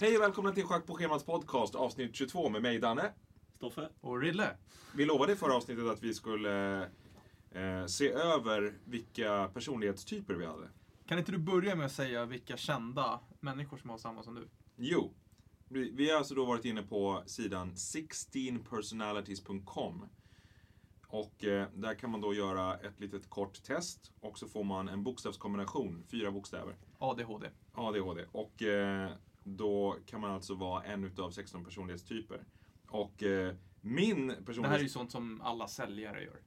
Hej och välkomna till Schack på schemats podcast avsnitt 22 med mig Danne. Stoffe? Och Rille. Vi lovade i förra avsnittet att vi skulle eh, se över vilka personlighetstyper vi hade. Kan inte du börja med att säga vilka kända människor som har samma som du? Jo, vi, vi har alltså då varit inne på sidan 16personalities.com. Och eh, där kan man då göra ett litet kort test och så får man en bokstavskombination, fyra bokstäver. ADHD. ADHD. Och eh, då kan man alltså vara en utav 16 personlighetstyper. Och eh, min personlighet... Det här är ju sånt som alla säljare gör.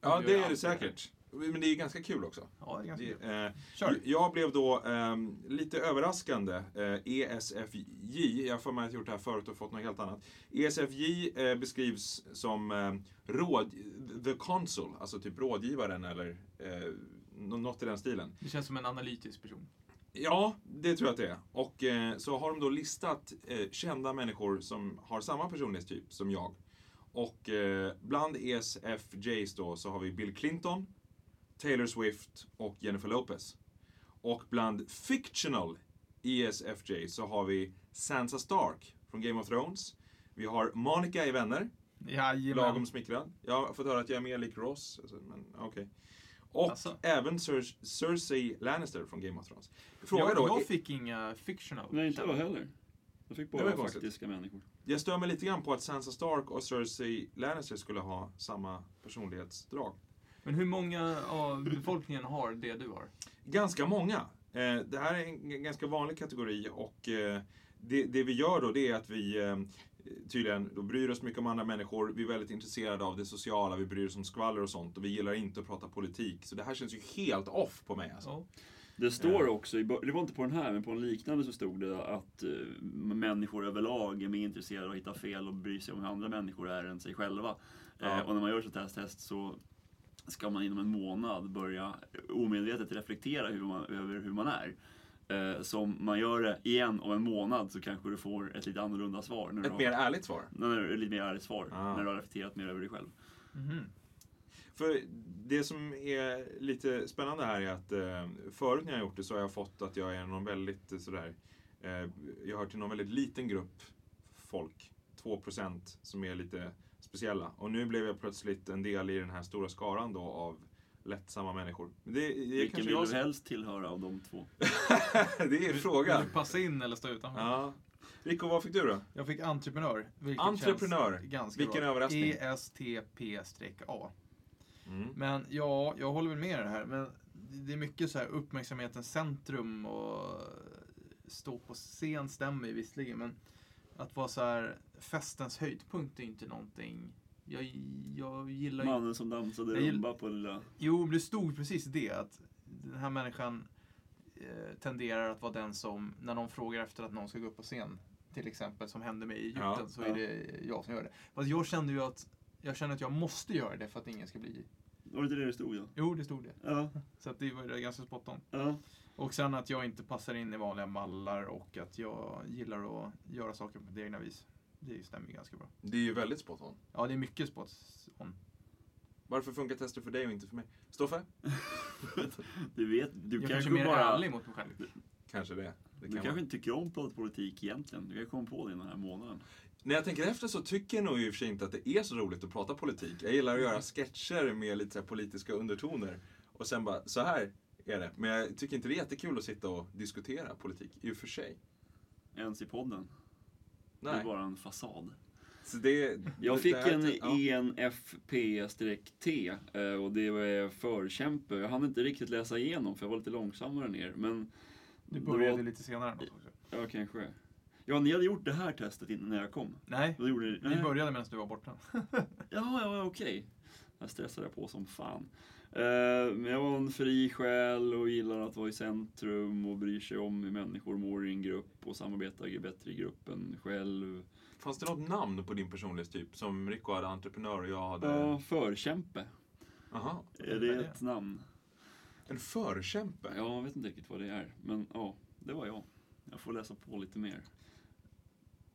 Ja, gör det ju är det alltid säkert. Men det är ju ganska kul också. Ja, det är ganska kul. Det, eh, Kör. Jag blev då ehm, lite överraskande eh, ESFJ, jag har för mig att jag gjort det här förut och fått något helt annat. ESFJ eh, beskrivs som eh, råd, the consul, alltså typ rådgivaren eller eh, nå- något i den stilen. Det känns som en analytisk person. Ja, det tror jag att det är. Och eh, så har de då listat eh, kända människor som har samma personlighetstyp som jag. Och eh, bland ESFJs då så har vi Bill Clinton, Taylor Swift och Jennifer Lopez. Och bland fictional E ESFJ så har vi Sansa Stark från Game of Thrones. Vi har Monica i Vänner, Jajamän. lagom smickrad. Jag har fått höra att jag är mer lik Ross, alltså, men okej. Och Alltså. även Cer- Cersei Lannister från Game of Thrones. Fråga jag, då, jag fick inga fictional. Nej, inte jag kända. heller. Jag fick Det var bara konstigt. faktiska människor. Jag stör mig lite grann på att Sansa Stark och Cersei Lannister skulle ha samma personlighetsdrag. Men hur många av befolkningen har det du har? Ganska många. Eh, Det här är en g- ganska vanlig kategori och eh, det, det vi gör då det är att vi eh, tydligen då bryr oss mycket om andra människor. Vi är väldigt intresserade av det sociala, vi bryr oss om skvaller och sånt och vi gillar inte att prata politik. Så det här känns ju helt off på mig alltså. Ja. Det står också, i bör- det var inte på den här, men på en liknande så stod det att eh, människor överlag är mer intresserade av att hitta fel och bry sig om hur andra människor är än sig själva. Ja. Eh, och när man gör sånt här test så ska man inom en månad börja omedvetet reflektera hur man, över hur man är. Eh, så om man gör det igen om en månad så kanske du får ett lite annorlunda svar. När du Ett mer ärligt svar. har, när, du- lite mer ärligt svar. Ah. När du har reflekterat mer över dig själv. Mhm. För det som är lite spännande här är att eh, förut när jag gjort det så har jag fått att jag är någon väldigt eh, sådär, eh, jag hör till någon väldigt liten grupp folk, 2% som är lite speciella. Och nu blev jag plötsligt en del i den här stora skaran då av lättsamma människor. Men Det, det är Vilken kanske vill jag du som... helst tillhöra av de två? Det är frågan. Vill du passa in eller stå utanför? Ja. Rico, vad fick du då? Jag fick entreprenör. Vilket Entreprenör. Känns ganska Vilken bra. E överraskning. ESTP-A. Mm. Men ja, jag håller väl med i det här. Men det är mycket så här uppmärksamhetens centrum och stå på scen stämmer ju visserligen. Men att vara så här, festens höjdpunkt är ju inte någonting. Jag, jag gillar ju... Mannen som dansade Jag gill- rumba på lilla... Jo, men det stod precis det. Att den här människan eh, tenderar att vara den som, när någon frågar efter att någon ska gå upp på scen, till exempel, som hände mig i Egypten, Ja, så ja. är det jag som gör det. Fast jag kände ju att jag känner att jag måste göra det för att ingen ska bli... Var det inte det det stod ja? Jo, det stod det. Ja, Så att det var ju ganska spot on. ja. Och sen att jag inte passar in i vanliga mallar och att jag gillar att göra saker på mitt egna vis. Det stämmer ju ganska bra. Det är ju väldigt spot on. Ja, det är mycket spot on. Varför funkar tester för dig och inte för mig? Stoffe? Du vet, du Jag kanske kanske är mer bara... ärlig mot mig själv. Kanske det. det Du kan kanske vara. inte tycker om att prata politik egentligen. Du kanske kom på det den här månaden. När jag tänker efter så tycker jag nog i och för sig inte att det är så roligt att prata politik. Jag gillar att Mm. göra sketcher med lite så här politiska undertoner. Och sen bara, så här är det. Men jag tycker inte det är jättekul att sitta och diskutera politik, i och för sig. Ens i podden. Det är Nej. bara en fasad. Så det, Mm. Jag det fick här- typ- en E ja. ENFP-T eh, och det var förkämpe. Jag hann inte riktigt läsa igenom för jag var lite långsammare än er. Men Du det började var- lite senare än oss också. Ja, kanske. Ja, ni hade gjort det här testet innan jag kom. Nej, Vad gjorde ni? vi Nej. började medan du var borta. Ja, ja, ja, okej. Jag stressade på som fan. Eh, Men jag var en fri själ och gillar att vara i centrum och bryr sig om hur människor mår i en grupp och samarbetar bättre i gruppen själv. Fanns det något namn på din personlighetstyp som Rico hade entreprenör och jag hade... Ja, förkämpe. Aha. Är det ett namn? En förkämpe? Jag vet inte riktigt vad det är, men ja, det var jag. Jag får läsa på lite mer.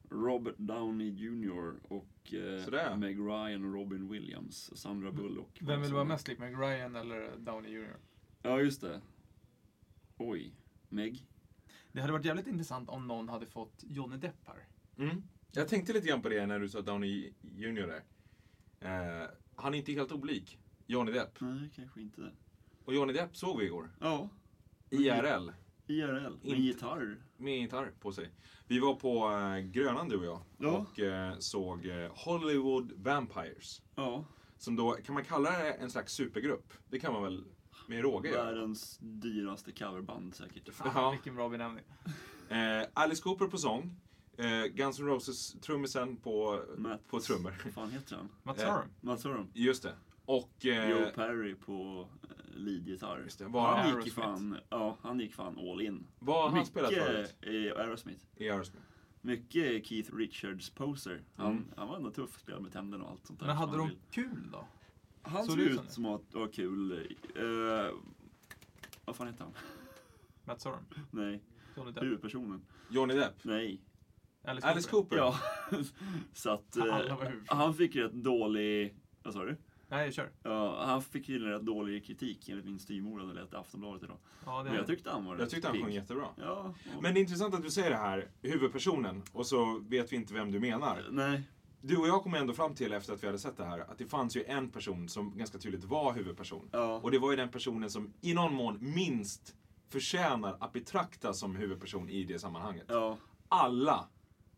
Robert Downey Jr och eh, Sådär. Meg Ryan och Robin Williams. och Sandra Bullock. Vem vill vara mest lik Meg Ryan eller Downey Jr? Ja, just det. Oj. Meg? Det hade varit jävligt intressant om någon hade fått Johnny Depp här. Mm. Jag tänkte lite grann på det när du sa Downey Junior där. Eh, han är inte helt olik Johnny Depp. Nej, kanske inte. Och Johnny Depp såg vi igår. Ja, Mm. IRL. IRL. Med Inte. gitarr. Med en gitarr på sig. Vi var på eh, Grönan du och jag. Ja. Och eh, såg eh, Hollywood Vampires. Ja. Som då, kan man kalla det en slags supergrupp? Det kan man väl med råge göra. Världens dyraste coverband säkert. Fan, Ja. vilken bra benämning. Eh, Alice Cooper på sång. Eh, Guns N' Roses trummisen på, Matt- på trummor. Vad fan heter han? Mats Eh, Aron. Mats Öhrn. Just det. Och... Joe Eh, Perry på eh, leadgitarr. just det. Vad Han gick, ju Aerosmith. fan, ja, han gick fan all in. Vad har han Mycket spelat förut eh, Aerosmith. i Aerosmith? Mycket Keith Richards poser. Han, Mm. han var ändå tuff, spelade med tänderna och allt sånt där. Men som hade han de vill. kul då? Han såg såg det ut som ut det? som att det var kul. Eh, vad fan heter han? Mats Aron? Nej, Johnny Depp? huvudpersonen. Johnny Depp? Nej. Alice Cooper? Alice Cooper? Ja. Så att Alla eh, var huvudpersoner. han fick rätt dålig... Vad sa du? Nej, kör. Ja, han fick ju rätt dålig kritik enligt min styvmor när jag läste Aftonbladet idag. Ja, det Men jag är tyckte han var Jag tyckte han pigg. sjöng jättebra. Ja. och- Men det är intressant att du säger det här, huvudpersonen, och så vet vi inte vem du menar. Nej. Du och jag kom ändå fram till efter att vi hade sett det här att det fanns ju en person som ganska tydligt var huvudperson. Ja. Och det var ju den personen som i någon mån minst förtjänar att betraktas som huvudperson i det sammanhanget. ja. Alla,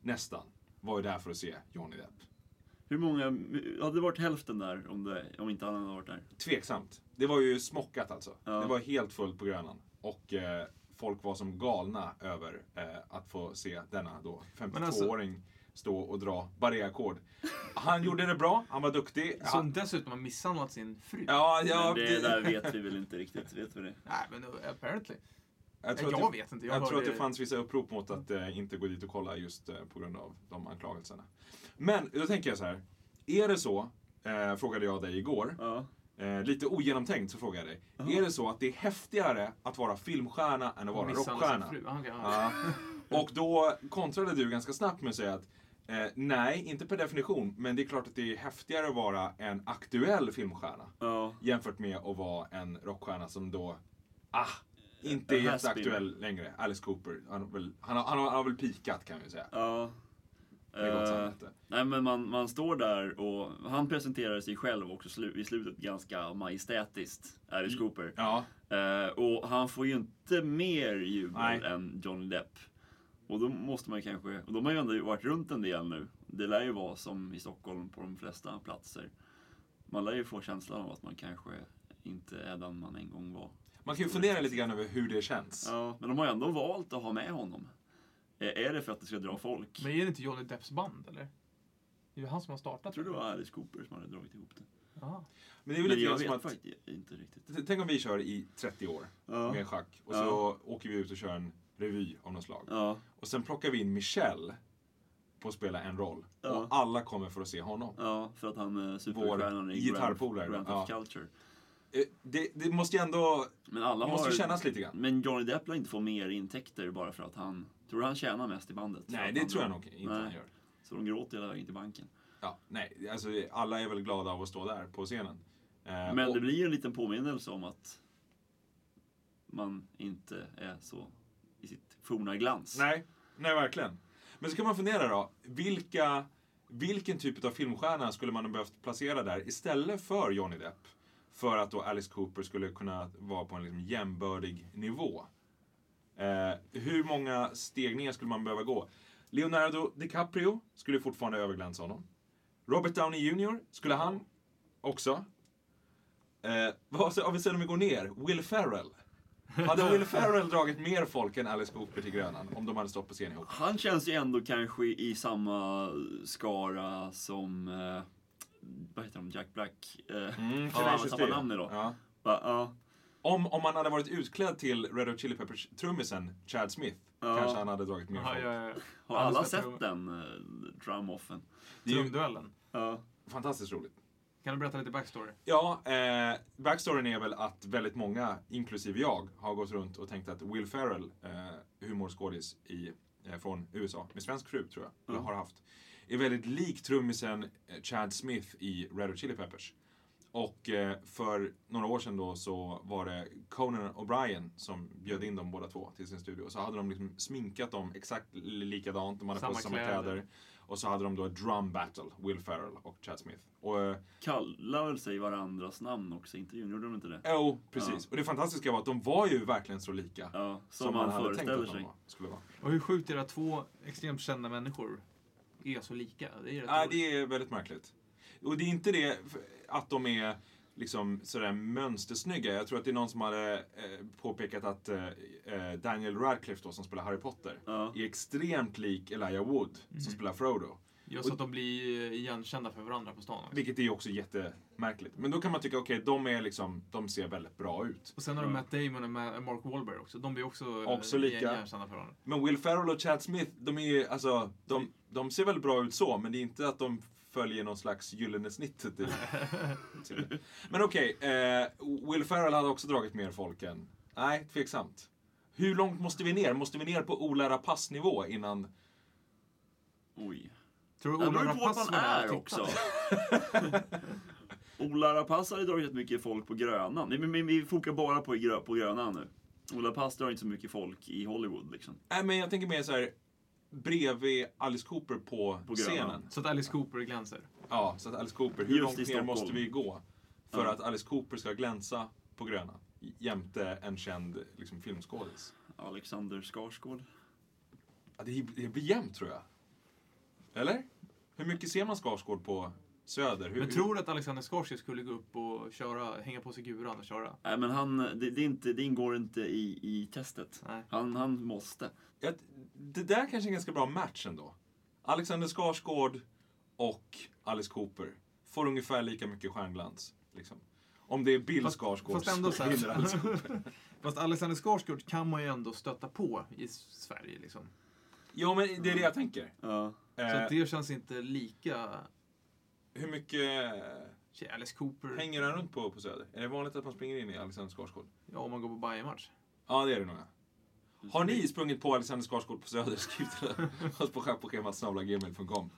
nästan, var ju där för att se Johnny Depp. Hur många... Hade det varit hälften där om, det, om inte han hade varit där? Tveksamt. Det var ju smockat alltså. Ja. Det var helt fullt på Grönan. Och eh, folk var som galna över eh, att få se denna då alltså- 52-åring stå och dra barréackord. Han gjorde det bra, han var duktig. Som Han, dessutom har misshandlat sin fru. ja, ja, Men det där vet vi väl inte riktigt, vet vi det? Nej, men uh, apparently. Eh, jag Jag, tror, att det, vet inte. Jag, jag tror att hörde- det fanns vissa upprop mot att eh, inte gå dit och kolla just eh, på grund av de anklagelserna. Men då tänker jag så här. Är det så, eh, frågade jag dig igår, Ja. Eh, lite ogenomtänkt så frågar jag dig. Är det så att det är häftigare att vara filmstjärna än att vara misshandlat sin rockstjärna? fru. Ah, okej, ja. Ja. Och då kontrade du ganska snabbt med att säga att eh, nej, inte per definition, men det är klart att det är häftigare att vara en aktuell filmstjärna Ja. jämfört med att vara en rockstjärna som då, ah, inte är En has-been. jätteaktuell längre. Alice Cooper, han har väl, han har, han har, han har väl pikat kan vi säga. ja. Med gott Eh, samvete. nej men man, man står där och han presenterar sig själv också slu, i slutet ganska majestätiskt, Mm. Alice Cooper. Ja, Eh, och han får ju inte mer Nej. jubel än Johnny Depp. Och då måste man ju kanske, och de har ju ändå varit runt en del nu. Det lär ju vara som i Stockholm på de flesta platser. Man lär ju få känslan av att man kanske inte är den man en gång var. man kan ju fundera lite grann över hur det känns. Ja, men de har ju ändå valt att ha med honom. Eh, Är det för att det ska dra folk? Men är det inte Johnny Depps band, eller? Det är ju han som har startat Jag tror det var Alice Cooper som hade dragit ihop det. Jaha. Men det är väl Men lite jag grann vet som att, faktiskt inte riktigt. tänk om vi kör i 30 år. Ja. med schack. Och Ja. så åker vi ut och kör en revy av något slag. Ja. Och sen plockar vi in Michelle på att spela en roll. Ja. Och alla kommer för att se honom. ja, för att han är superstjärnan i gitarrpolare Grand, då. Grand Theft Culture. Eh, Det, det måste ju ändå... Men alla Det måste ju har... kännas lite grann. Men Johnny Depp lär inte få mer intäkter bara för att han... Tror du han tjänar mest i bandet? För Nej, att det han- tror jag nog inte Nej. han gör. Så de gråter hela vägen till banken. Ja, nej, alltså, alla är väl glada av att stå där på scenen. Eh, Men och, det blir ju en liten påminnelse om att man inte är så i sitt forna glans. Nej, nej, verkligen. Men så kan man fundera då. Vilka, vilken typ av filmstjärna skulle man ha behövt placera där istället för Johnny Depp? För att då Alice Cooper skulle kunna vara på en liksom jämbördig nivå. Eh, hur många steg ner skulle man behöva gå? Leonardo DiCaprio skulle fortfarande överglänsa honom. Robert Downey Jr. skulle han också. Eh, vad har vi sen om vi går ner? Will Ferrell. Hade Will Ferrell dragit mer folk än Alice Cooper till Grönan om de hade stått på scen ihop? Han känns ju ändå kanske i samma skara som... Eh, vad heter de? Jack Black? Eh, Mm, fan, Tenacious samma D. namn idag. Ja. va- ja. Om, om han hade varit utklädd till Red Hot Chili Peppers-trummisen Chad Smith Ja. kanske han hade dragit mer Jaha, folk. ja, ja, ja. Har Alla alla ska sett prova. den eh, drum-offen? Det är ju Trumduellen. Ja. fantastiskt roligt. Kan du berätta lite backstory? Ja, eh, backstoryn är väl att väldigt många, inklusive jag, har gått runt och tänkt att Will Ferrell, eh, humorskådis i, eh, från USA, med svensk fru tror jag, eller Mm. har haft, är väldigt lik trummisen eh, Chad Smith i Red Hot Chili Peppers. Och eh, för några år sedan då så var det Conan O'Brien som bjöd in dem båda två till sin studio. Så hade de liksom sminkat dem exakt li- likadant, de hade Samma på sig samma kläder. kläder. Och så hade de då ett drum battle, Will Ferrell och Chad Smith. Och, eh, Kallar sig varandras namn också i intervjun, gjorde de inte det? jo, oh, precis. Och det fantastiska var att de var ju verkligen så lika. Ja, som, man, föreställer sig. var, skulle vara. Och hur sjukt är det att två extremt kända människor är så lika? Det är rätt Nej, roligt. det är väldigt märkligt. Och det är inte det f- att de är liksom sådär mönstersnygga. Jag tror att det är någon som hade eh, påpekat att eh, eh, Daniel Radcliffe då, som spelar Harry Potter, Ja. är extremt lik Elijah Wood Mm. som spelar Frodo. Just att de blir igenkända för varandra på stan också. Vilket är ju också jättemärkligt. Men då kan man tycka, okej, de är liksom, de ser väldigt bra ut. Och sen har de Matt Damon och Ma- Mark Wahlberg också. De blir också, eh, Också lika. igenkända för varandra. Men Will Ferrell och Chad Smith, de är ju, alltså, de, de ser väl bra ut så, men det är inte att de följer någon slags gyllene snittet. I, till det. men okej, eh, Will Ferrell hade också dragit mer folk än... Nej, tveksamt. Hur långt måste vi ner? Måste vi ner på Ola Rapace-nivå innan... Oj. Tror du Det Ola beror på Rapace vart man var där är och också. tittade? Ola Rapace hade dragit mycket folk på Grönan. Nej, men men vi fokar bara på, grö, på Grönan nu. Ola Rapace drar inte så mycket folk i Hollywood liksom. Nej, men jag tänker mer så här bredvid Alice Cooper på, På Grönan. scenen. Så att Alice Cooper glänser. Ja, så att Alice Cooper, hur Just i långt ner Stockholm. måste vi gå för Ja. att Alice Cooper ska glänsa på Gröna? Jämte en känd liksom, filmskådis. Alexander Skarsgård. Ja, det, det blir jämnt tror jag. Eller? Hur mycket ser man Skarsgård på Söder? Hur, Men tror du att Alexander Skarsgård skulle gå upp och köra, hänga på sig guran och köra? Nej, men han, det, det, är inte, det ingår inte i, i testet. Nej. Han, han måste. jag, det där kanske är en ganska bra match ändå. Alexander Skarsgård och Alice Cooper får ungefär lika mycket stjärnglans. Liksom. Om det är Bill Fast- Skarsgård alltså. fast ändå så så här. vinner Alice Cooper. Fast Alexander Skarsgård kan man ju ändå stöta på i Sverige liksom. Jo, men det är det jag tänker. Ja. Så Eh, att det känns inte lika... Hur mycket eh, Tja, Alice Cooper. hänger han runt på på Söder? Är det vanligt att man springer in i Alexander Skarsgård? Ja, om man går på Bajen-match. Ja, det är det nog. ja. Har ni sprungit på Alexander Skarsgård på Söder? Skriv till oss på schackpåschemat snabelagmail.com.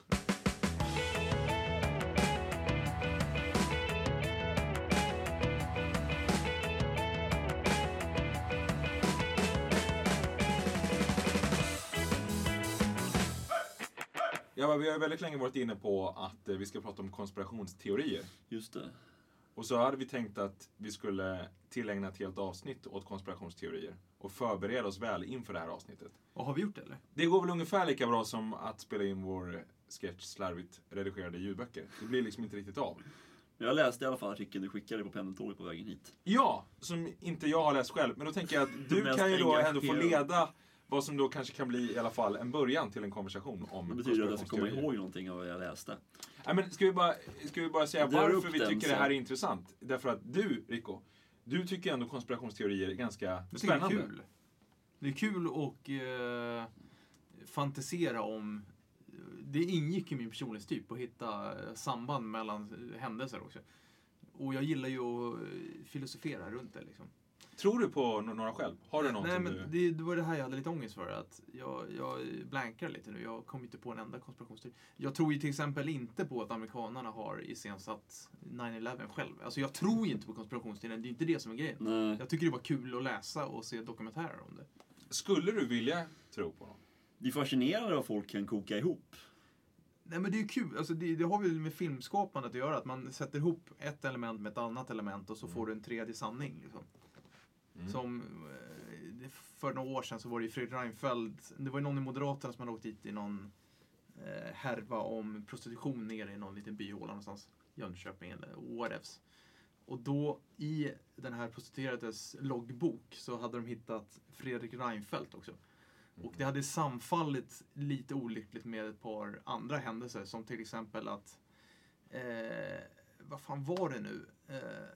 Ja, men vi har väldigt länge varit inne på att eh, vi ska prata om konspirationsteorier. Just det. Och så hade vi tänkt att vi skulle tillägna ett helt avsnitt åt konspirationsteorier och förbereda oss väl inför det här avsnittet. Och har vi gjort det eller? Det går väl ungefär lika bra som att spela in vår sketch slarvigt redigerade ljudböcker. Det blir liksom inte riktigt av. Jag läste i alla fall artikeln du skickade på pendeltåget på vägen hit. Ja, som inte jag har läst själv, men då tänker jag att du Mest kan ju då ändå få engagerad. leda vad som då kanske kan bli i alla fall en början till en konversation om Det betyder att jag ska komma konspirationsteorier. ihåg någonting av vad jag läste. Nej, men ska, vi bara, ska vi bara säga Dra upp varför vi den tycker sen. det här är intressant? Därför att du, Rico, du tycker ändå konspirationsteorier är ganska Jag tycker spännande. Det är kul. Det är kul och eh, fantisera om... Det ingick i min personlighetstyp att hitta eh, samband mellan eh, händelser också. Och jag gillar ju att eh, filosofera runt det liksom. Tror du på nå- några själv? Har du någon Nej, som men du... det, det var det här jag hade lite ångest för. Att jag, jag blankar lite nu. Jag kommer inte på en enda konspirationsteori. Jag tror ju till exempel inte på att amerikanarna har iscensatt 9-11 själv. Alltså jag tror ju inte på konspirationsteorin. Det är inte det som är grejen. Nej. Jag tycker det var kul att läsa och se dokumentärer om det. Skulle du vilja tro på någon? Det är fascinerande vad folk kan koka ihop. Nej men det är ju kul. Alltså, det, det har väl med filmskapandet att göra. Att man sätter ihop ett element med ett annat element och Mm. så får du en tredje sanning. Liksom. Som eh, det- för några år sedan så var det ju Fredrik Reinfeldt. Det var ju någon i Moderaterna som hade åkt dit i någon eh, härva om prostitution nere i någon liten byhåla någonstans. Jönköping eller whatevs. Och då i den här prostituerades loggbok så hade de hittat Fredrik Reinfeldt också. Och det hade samfallit lite olyckligt med ett par andra händelser som till exempel att, eh, vad fan var det nu? Eh,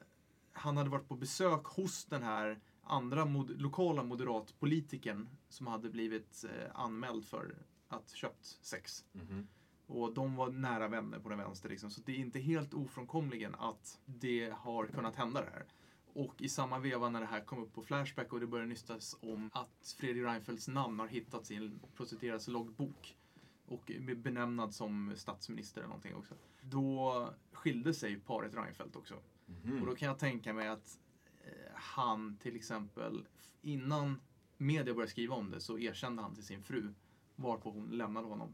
han hade varit på besök hos den här andra mod- lokala moderatpolitikern som hade blivit eh, anmäld för att köpt sex. Mhm. Och de var nära vänner på den vänster liksom. Så det är inte helt ofrånkomligen att det har kunnat hända det här. Och i samma veva när det här kom upp på Flashback och det började nystas om att Fredrik Reinfeldts namn har hittats i en prostituerads loggbok. Och är benämnad som statsminister eller någonting också. Då skilde sig paret Reinfeldt också. Mhm. Och då kan jag tänka mig att eh, han till exempel, innan media började skriva om det så erkände han till sin fru varpå hon lämnade honom.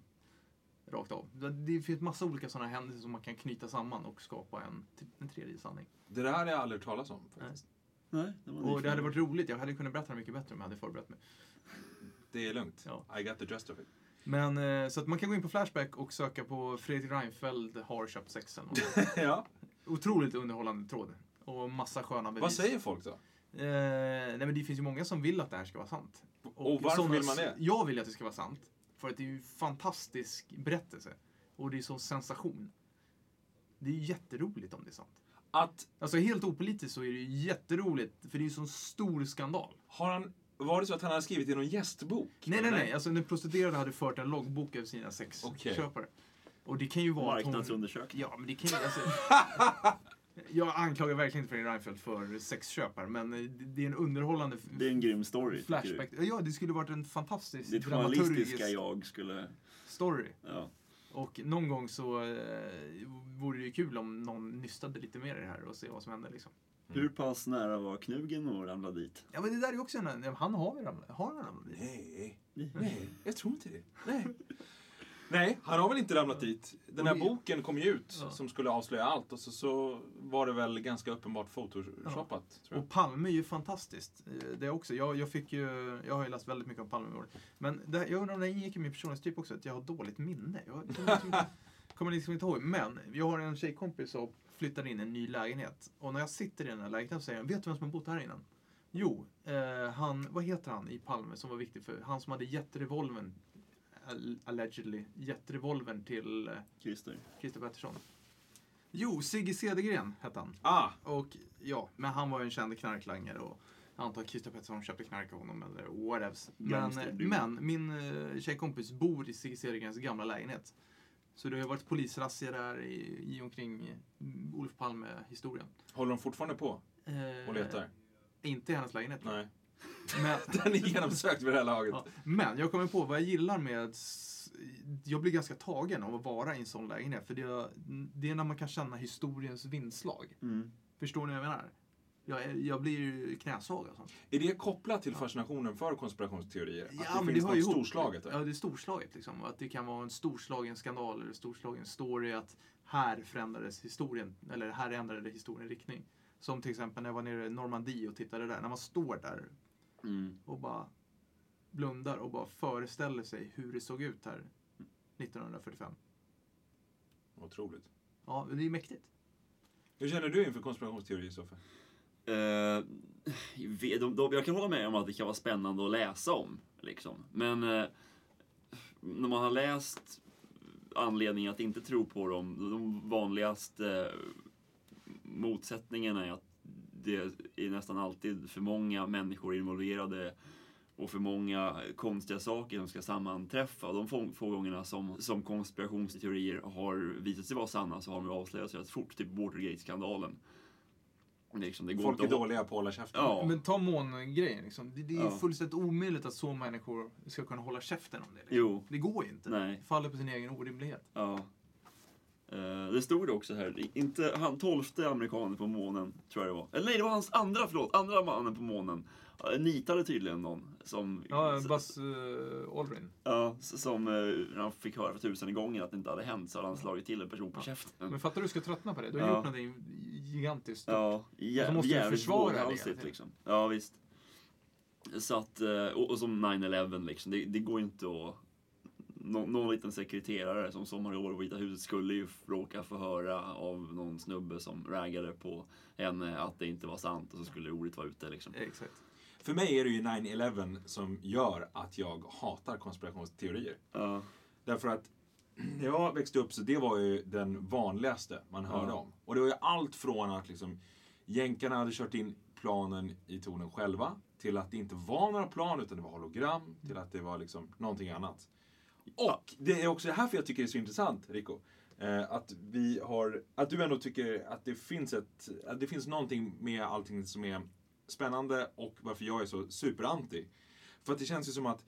Rakt av. Det- Det finns massa olika sådana händelser som man kan knyta samman och skapa en, en tredje sanning. Det där har jag aldrig hört talas om faktiskt. Nej, det Mm. var Och det hade nyfiken. varit roligt, jag hade kunnat berätta det mycket bättre om jag hade förberett mig. Det är lugnt. Ja. I got the gist of it. Men eh, så att man kan gå in på Flashback och söka på Fredrik Reinfeldt har köpt sex eller något. ja. Otroligt underhållande tråd. Och massa sköna bevis. Vad säger folk då? Eh, nej men det finns ju många som vill att det här ska vara sant. Och, varför sådana- vill man det? Jag vill att det ska vara sant. För att det är ju en fantastisk berättelse. Och det är sån sensation. Det är ju jätteroligt om det är sant. Att Alltså helt opolitiskt så är det ju jätteroligt, för det är ju en sån stor skandal. har han, var det så att han hade skrivit i någon gästbok? Nej, nej, nej. Alltså den prostituerade hade fört en loggbok över sina Okej. sexköpare. Och det kan ju vara att hon... Marknadsundersökning. Ja, men det kan ju... Alltså... Jag anklagar verkligen inte Fredrik Reinfeldt för sexköpare, men det- det är en underhållande Det är en grym story. tycker du? Flashback. Ja, det skulle varit en fantastisk Ditt dramaturgisk journalistiska jag skulle... story. Ja. Och någon gång så eh, vore det ju kul om någon nystade lite mer i det här och se vad som händer. Liksom. Hur pass nära var knugen och ramla dit? Ja, men det där är ju också en... Han har väl ramlat? Har han ramlat? dit? Nej, nej, jag tror inte det. Nej. nej, han har väl inte ramlat dit. Den Och här det- boken kom ju ut Ja. som skulle avslöja allt och så, så var det väl ganska uppenbart photoshoppat. Tror jag. Och Palme är ju fantastiskt. eh, Det också. Jag, jag, fick ju, jag har ju läst väldigt mycket om Palme i år. Men det, jag undrar om det ingick i min personlighetstyp också, att jag har dåligt minne. Jag kommer liksom, inte- kommer liksom inte ihåg. Men jag har en tjejkompis som flyttade in i en ny lägenhet. Och när jag sitter i den här lägenheten så säger jag, vet du vem som har bott här innan? Jo, eh, han, vad heter han i Palme som var viktig för, han som hade gett revolvern, all- allegedly, gett revolvern till eh, Christer. Christer Pettersson. Jo, Sigge Cedergren hette han. Ah, Och ja, men han var ju en känd knarklangare och jag antar att Christer Pettersson köpte knark av honom eller whatevs. Men, Gangster, du. men min eh, tjejkompis bor i Sigge Cedergrens gamla lägenhet. Så det har ju varit polisrazzior där i, i omkring eh, Olof Palme-historien. håller de fortfarande på Eh, och letar? Inte i hennes lägenhet. tror jag. Nej. Men, Den är genomsökt vid det här laget. ja, men jag kommer på vad jag gillar med... s- Jag blir ganska tagen av att vara i en sån lägenhet. För det, det är när man kan känna historiens vindslag. Mm. Förstår ni vad jag menar? Jag, är- jag blir ju knäsvag alltså. Är det kopplat till fascinationen för konspirationsteorier? Att Ja, det men finns det något har ju ihop. storslaget där? Ja, det är storslaget liksom. Att det kan vara en storslagen skandal eller storslagen story. Att här förändrades historien, eller här ändrade historien riktning. Som till exempel när jag var nere i Normandie och tittade där. När man står där Mm. och bara blundar och bara föreställer sig hur det såg ut här 1945. Otroligt. Ja, det är mäktigt. Hur känner du inför konspirationsteorier, Soffe? Eh, vi- de, de, jag kan hålla med om att det kan vara spännande att läsa om. Liksom. Men eh, när man har läst anledningen att inte tro på dem, de vanligaste eh, motsättningarna är att det är nästan alltid för många människor involverade och för många konstiga saker som ska sammanträffa. De få, få gångerna som, som konspirationsteorier har visat sig vara sanna så har de ju avslöjats rätt fort. Typ Watergate-skandalen. Liksom, det går Folk inte är att hå- dåliga på att hålla käften. Ja. Men ta mångrejen liksom. Det, det är ju Ja. fullständigt omöjligt att så människor ska kunna hålla käften om det. Liksom. Jo, Det går ju inte. nej. Det faller på sin egen orimlighet. Ja. Eh, det stod det också här, I- inte han tolfte amerikanen på månen, tror jag det var. Eller nej, det var hans andra, förlåt, andra mannen på månen. Uh, nitade tydligen någon som... Ja, s- Buzz eh, Aldrin. ja, s- som eh, när han fick höra för tusen gånger att det inte hade hänt så hade han slagit till en person på Ja. käften. Men fattar du du ska tröttna på det? Du har Ja. gjort någonting gigantiskt. Ja, Och så jä- måste du jävligt försvara det hela våghalsigt tiden. liksom. Ja, visst. Så att, eh, och, och som 9-11 liksom, det, det går ju inte att... Nå, någon liten sekreterare som sommar i år på Vita huset skulle ju råka få höra av någon snubbe som raggade på henne att det inte var sant och så skulle ordet vara ute liksom. Exakt. För mig är det ju 9-11 som gör att jag hatar konspirationsteorier. Ja, Därför att när jag växte upp så det var ju den vanligaste man hörde Ja. om. Och det var ju allt från att liksom jänkarna hade kört in planen i tornen själva till att det inte var några plan utan det var hologram till att det var liksom någonting annat. Och det är också det här för jag tycker det är så intressant, Rico. Eh, att, vi har, att du ändå tycker att det finns, ett, att det finns någonting med allting som är spännande och varför jag är så superanti. För att det känns ju som att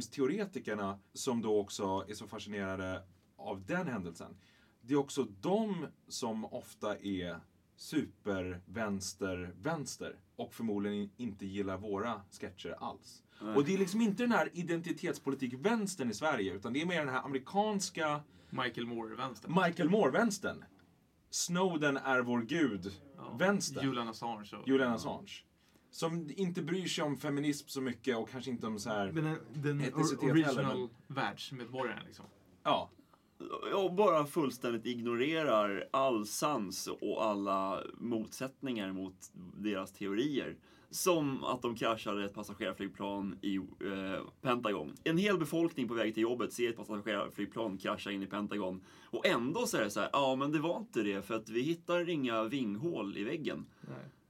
konspirationsteoretikerna som då också är så fascinerade av den händelsen. Det är också de som ofta är supervänster-vänster och förmodligen inte gillar våra sketcher alls. Nej. Och det är liksom inte den här identitetspolitik-vänstern i Sverige, utan det är mer den här amerikanska Michael Moore-vänstern. Michael Moore-vänstern. Snowden är vår gud-vänstern. Julian Assange. Och... Julian Assange. Som inte bryr sig om feminism så mycket och kanske inte om så här... Men den, den Etnicitet or- heller, original världsmedborgaren liksom. Ja. Jag bara fullständigt ignorerar all sans och alla motsättningar mot deras teorier. Som att de kraschade ett passagerarflygplan i eh, Pentagon. En hel befolkning på väg till jobbet ser ett passagerarflygplan krascha in i Pentagon. Och ändå så är det så här, ja men det var inte det för att vi hittar inga vinghål i väggen.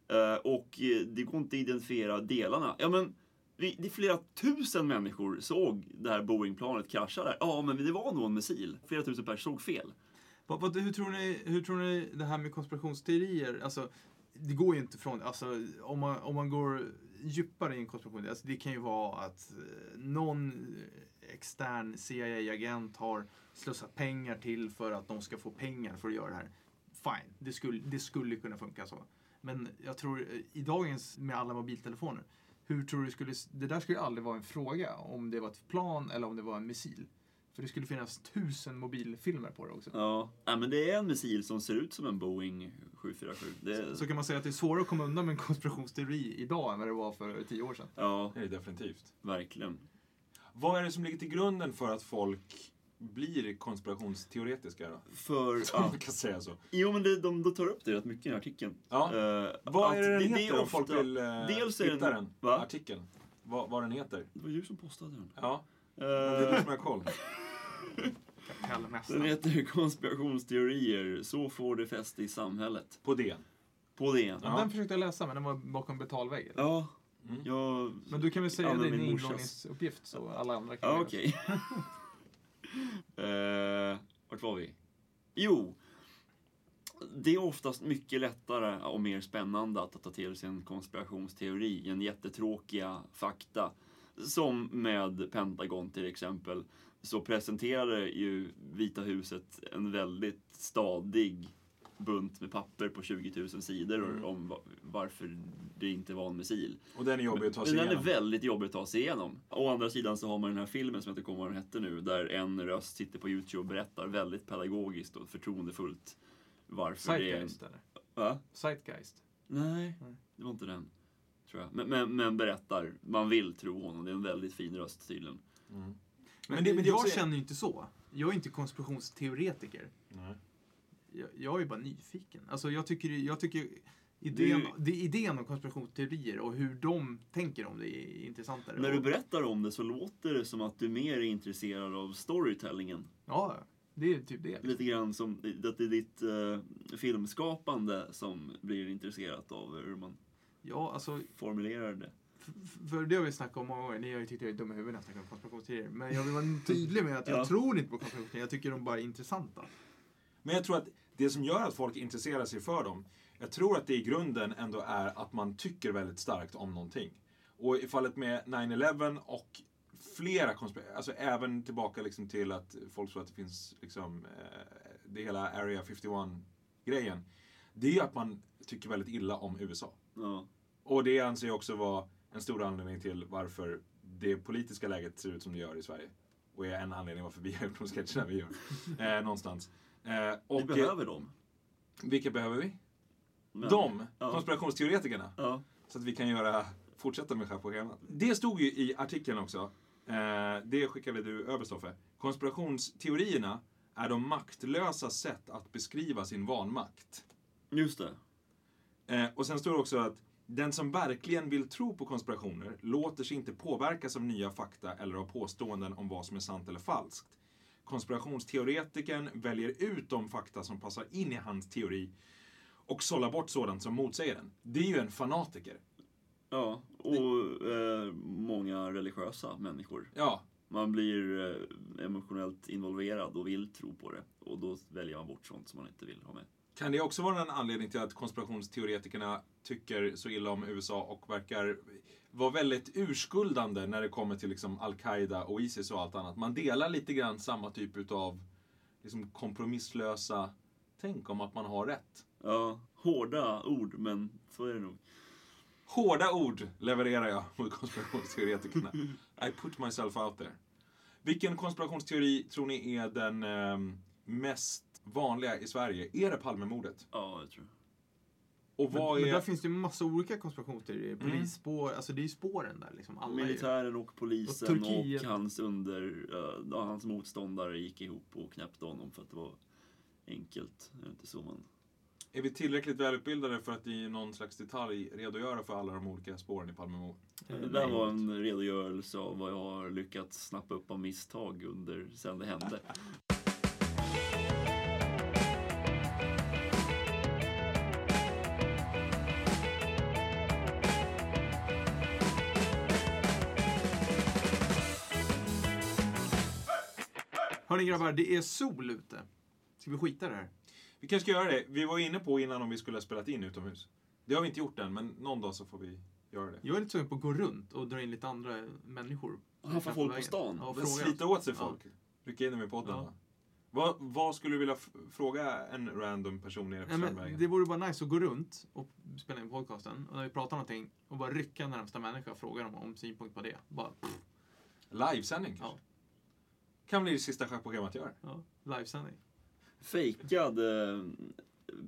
Eh, och eh, det går inte att identifiera delarna. Ja, men vi, det är flera tusen människor såg det här Boeing-planet krascha där. Ja, men det var nog en missil. Flera tusen personer såg fel. Vad, vad, hur, tror ni, hur tror ni det här med konspirationsteorier, alltså det går ju inte från, alltså om man, om man går djupare i en konspiration, alltså, det kan ju vara att eh, någon extern CIA-agent har slussat pengar till för att de ska få pengar för att göra det här. Fine, det skulle, det skulle kunna funka så. Men jag tror eh, i dagens, med alla mobiltelefoner, hur tror du skulle, det där skulle ju aldrig vara en fråga om det var ett plan eller om det var en missil. För det skulle finnas tusen mobilfilmer på det också. Ja, ja men det är en missil som ser ut som en Boeing 747. Det, Så kan man säga att det är svårare att komma undan med en konspirationsteori idag än vad det var för tio år sedan. ja, Det är det definitivt. verkligen. Vad är det som ligger till grunden för att folk blir konspirationsteoretiska då? För Om att... man kan säga så. Jo, men det, de, de tar upp det rätt mycket i den här artikeln. Ja. Eh, Vad att är det den det heter om folk vill eh, dels är hitta den- den, va? artikeln? Vad, vad den heter? Det var du som postade den. Ja, det Eh, är du som har koll. Kapellmästaren. den heter Konspirationsteorier, så får det fäste i samhället. På det. På DN. Ja. Den försökte jag läsa men den var bakom betalväggen. Ja, Mm. jag... Men du kan väl säga Ja, det men är din min morsas. inloggningsuppgift så alla andra kan Ja, göra okej. Ah, Eh, vart var vi? Jo. Det är oftast mycket lättare och mer spännande att ta till sig en konspirationsteori än jättetråkiga fakta. Som med Pentagon till exempel, så presenterade ju Vita huset en väldigt stadig bunt med papper på 20 000 sidor Mm. om va- varför det inte var en missil. Och den är jobbig att ta sig Men igenom. Den är väldigt jobbig att ta sig igenom. Å andra sidan så har man den här filmen som jag inte kommer ihåg vad den hette nu, där en röst sitter på Youtube och berättar väldigt pedagogiskt och förtroendefullt varför det är... Zeitgeist eller? Va? Zeitgeist. Nej, Nej. det var inte den. Tror jag. Men, men, men berättar, man vill tro honom, det är en väldigt fin röst tydligen. Mm. Men, Men det- men det är jag också- känner ju inte så. Jag är inte konspirationsteoretiker. Nej. Jag, jag är bara nyfiken. Alltså jag tycker, jag tycker idén, Du- det, idén om konspirationsteorier och hur de tänker om det är intressantare. När du Och- berättar om det så låter det som att du mer är intresserad av storytellingen. Ja, det är typ det. Lite grann som att det är ditt eh, filmskapande som blir intresserat av hur man Ja, alltså formulerar det. F- För det har vi snackat om många gånger. Ni har ju tyckt jag är dum i huvudet när jag snackar om konspirationsteorier. Men jag vill vara tydlig med att jag Ja. tror inte på konspirationsteorier. Jag tycker de bara är intressanta. Men jag tror att det som gör att folk intresserar sig för dem, jag tror att det i grunden ändå är att man tycker väldigt starkt om någonting. Och i fallet med 9-11 och flera konspirationer, alltså även tillbaka liksom till att folk tror att det finns liksom, eh, det hela Area 51-grejen. Det är ju att man tycker väldigt illa om USA. Ja. Och det anser jag också vara en stor anledning till varför det politiska läget ser ut som det gör i Sverige. Och är en anledning varför vi har gjort de sketcherna vi gör. Eh, någonstans. Eh, och, Vi behöver dem. Eh, vilka behöver vi? Men- De! Ja. Konspirationsteoretikerna. Ja. Så att vi kan göra, fortsätta med det här på schemat. Det stod ju i artikeln också. Eh, det skickade du över, Stoffe. Konspirationsteorierna är de maktlösa sätt att beskriva sin vanmakt. Just det. Eh, och sen står det också att den som verkligen vill tro på konspirationer låter sig inte påverkas av nya fakta eller av påståenden om vad som är sant eller falskt. Konspirationsteoretikern väljer ut de fakta som passar in i hans teori och sållar bort sådant som motsäger den. Det är ju en fanatiker. Ja, och eh, många religiösa människor. Ja, Man blir eh, emotionellt involverad och vill tro på det. Och då väljer man bort sånt som man inte vill ha med. kan det också vara en anledning till att konspirationsteoretikerna tycker så illa om USA och verkar vara väldigt urskuldande när det kommer till liksom Al-Qaida och Isis och allt annat. Man delar lite grann samma typ utav liksom kompromisslösa tänk om att man har rätt. Ja, hårda ord, men så är det nog. Hårda ord levererar jag mot konspirationsteoretikerna. I put myself out there. Vilken konspirationsteori tror ni är den ehm, mest vanliga i Sverige? Är det Palmemordet? Ja, jag tror Och Men, vad men är... där finns det ju massa olika konspirationsteorier. Mm. Polisspår, alltså det är ju spåren där liksom. Alla är ju- Militären och Och polisen och, Turkiet. hans, under, eh, ja, hans motståndare gick ihop och knäppte honom för att det var enkelt. Är det inte så man... Är vi tillräckligt välutbildade för att i någon slags detalj redogöra för alla de olika spåren i Palmemordet? Eh, Det där var en redogörelse av vad jag har lyckats snappa upp av misstag under sen det hände. Hörni grabbar, det är sol ute. Ska vi skita i det här? Vi kanske ska göra det. Vi var inne på innan om vi skulle ha spelat in utomhus. Det har vi inte gjort än, men någon dag så får vi göra det. Jag är lite sugen på att gå runt och dra in lite andra människor. Haffa folk på stan. Ja, Men fråga. slita åt sig folk. Rycka in dem i podden. Ja. va? Vad, vad skulle du vilja f- fråga en random person nere på Nej, Strandvägen? men det vore bara nice att gå runt och spela in podcasten och när vi pratar någonting och bara rycka närmsta människa och fråga dem om synpunkt på det. Bara, pff, Livesändning kanske? Kan bli det sista schackprogrammet jag gör. ja, livesändning. Fejkad eh,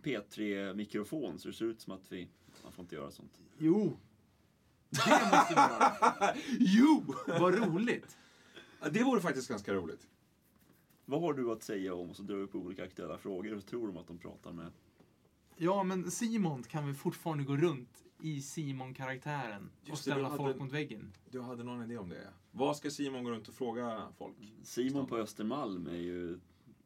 P3-mikrofon så det ser ut som att vi... Man får inte göra sånt. Jo! Det måste vi göra. Jo! Vad roligt! Det vore faktiskt ganska roligt. Vad har du att säga om? Och så drar du upp olika aktuella frågor och tror de att de pratar med... Ja, men Simon kan vi fortfarande gå runt i Simon-karaktären och Just det, du ställa hade folk en- mot väggen. Du hade någon idé om det? ja. Vad ska Simon gå runt och fråga folk? Simon på Östermalm är ju...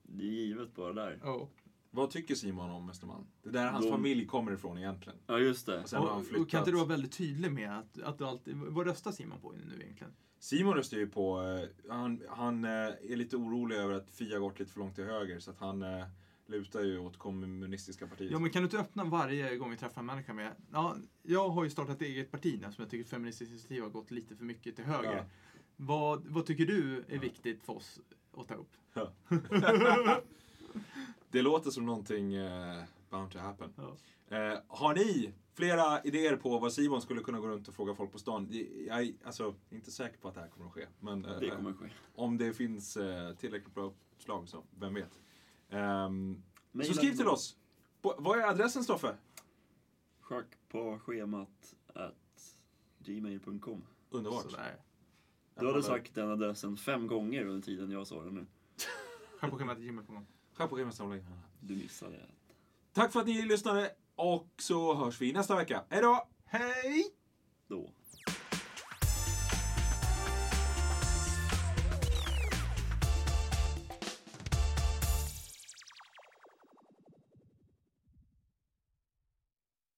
Det är givet bara där. Ja. Vad tycker Simon om Östermalm? Det är där hans De- familj kommer ifrån egentligen. Ja, just det. Och sen har han Och, och kan flyttat. inte du vara väldigt tydlig med att, att du alltid... Vad röstar Simon på nu egentligen? Simon röstar ju på... eh, Han, han eh, är lite orolig över att Fia gått lite för långt till höger så att han eh, lutar ju åt kommunistiska partiet. Ja, men kan du inte öppna varje gång vi träffar en människa med ja, jag har ju startat eget parti nu som jag tycker Feministiskt initiativ har gått lite för mycket till höger. Ja. Vad, vad tycker du är viktigt för oss att ta upp? Det låter som någonting eh, bound to happen. Ja. Eh, har ni flera idéer på vad Simon skulle kunna gå runt och fråga folk på stan? Jag är alltså, inte säker på att det här kommer att ske. Men eh, Det kommer ske. om det finns eh, tillräckligt bra uppslag så, vem vet. Ehm, så Mejla skriv till oss. oss! På, vad är adressen Stoffe? Schack på schemat at gmail.com. Underbart. Sådär. Du hade sagt den adressen fem gånger under tiden jag sa den nu. Skär på schemat Jimmy på gång. Skärpåskrivarsamling. Du missade det. Tack för att ni lyssnade och så hörs vi nästa vecka. Hej då! Hej!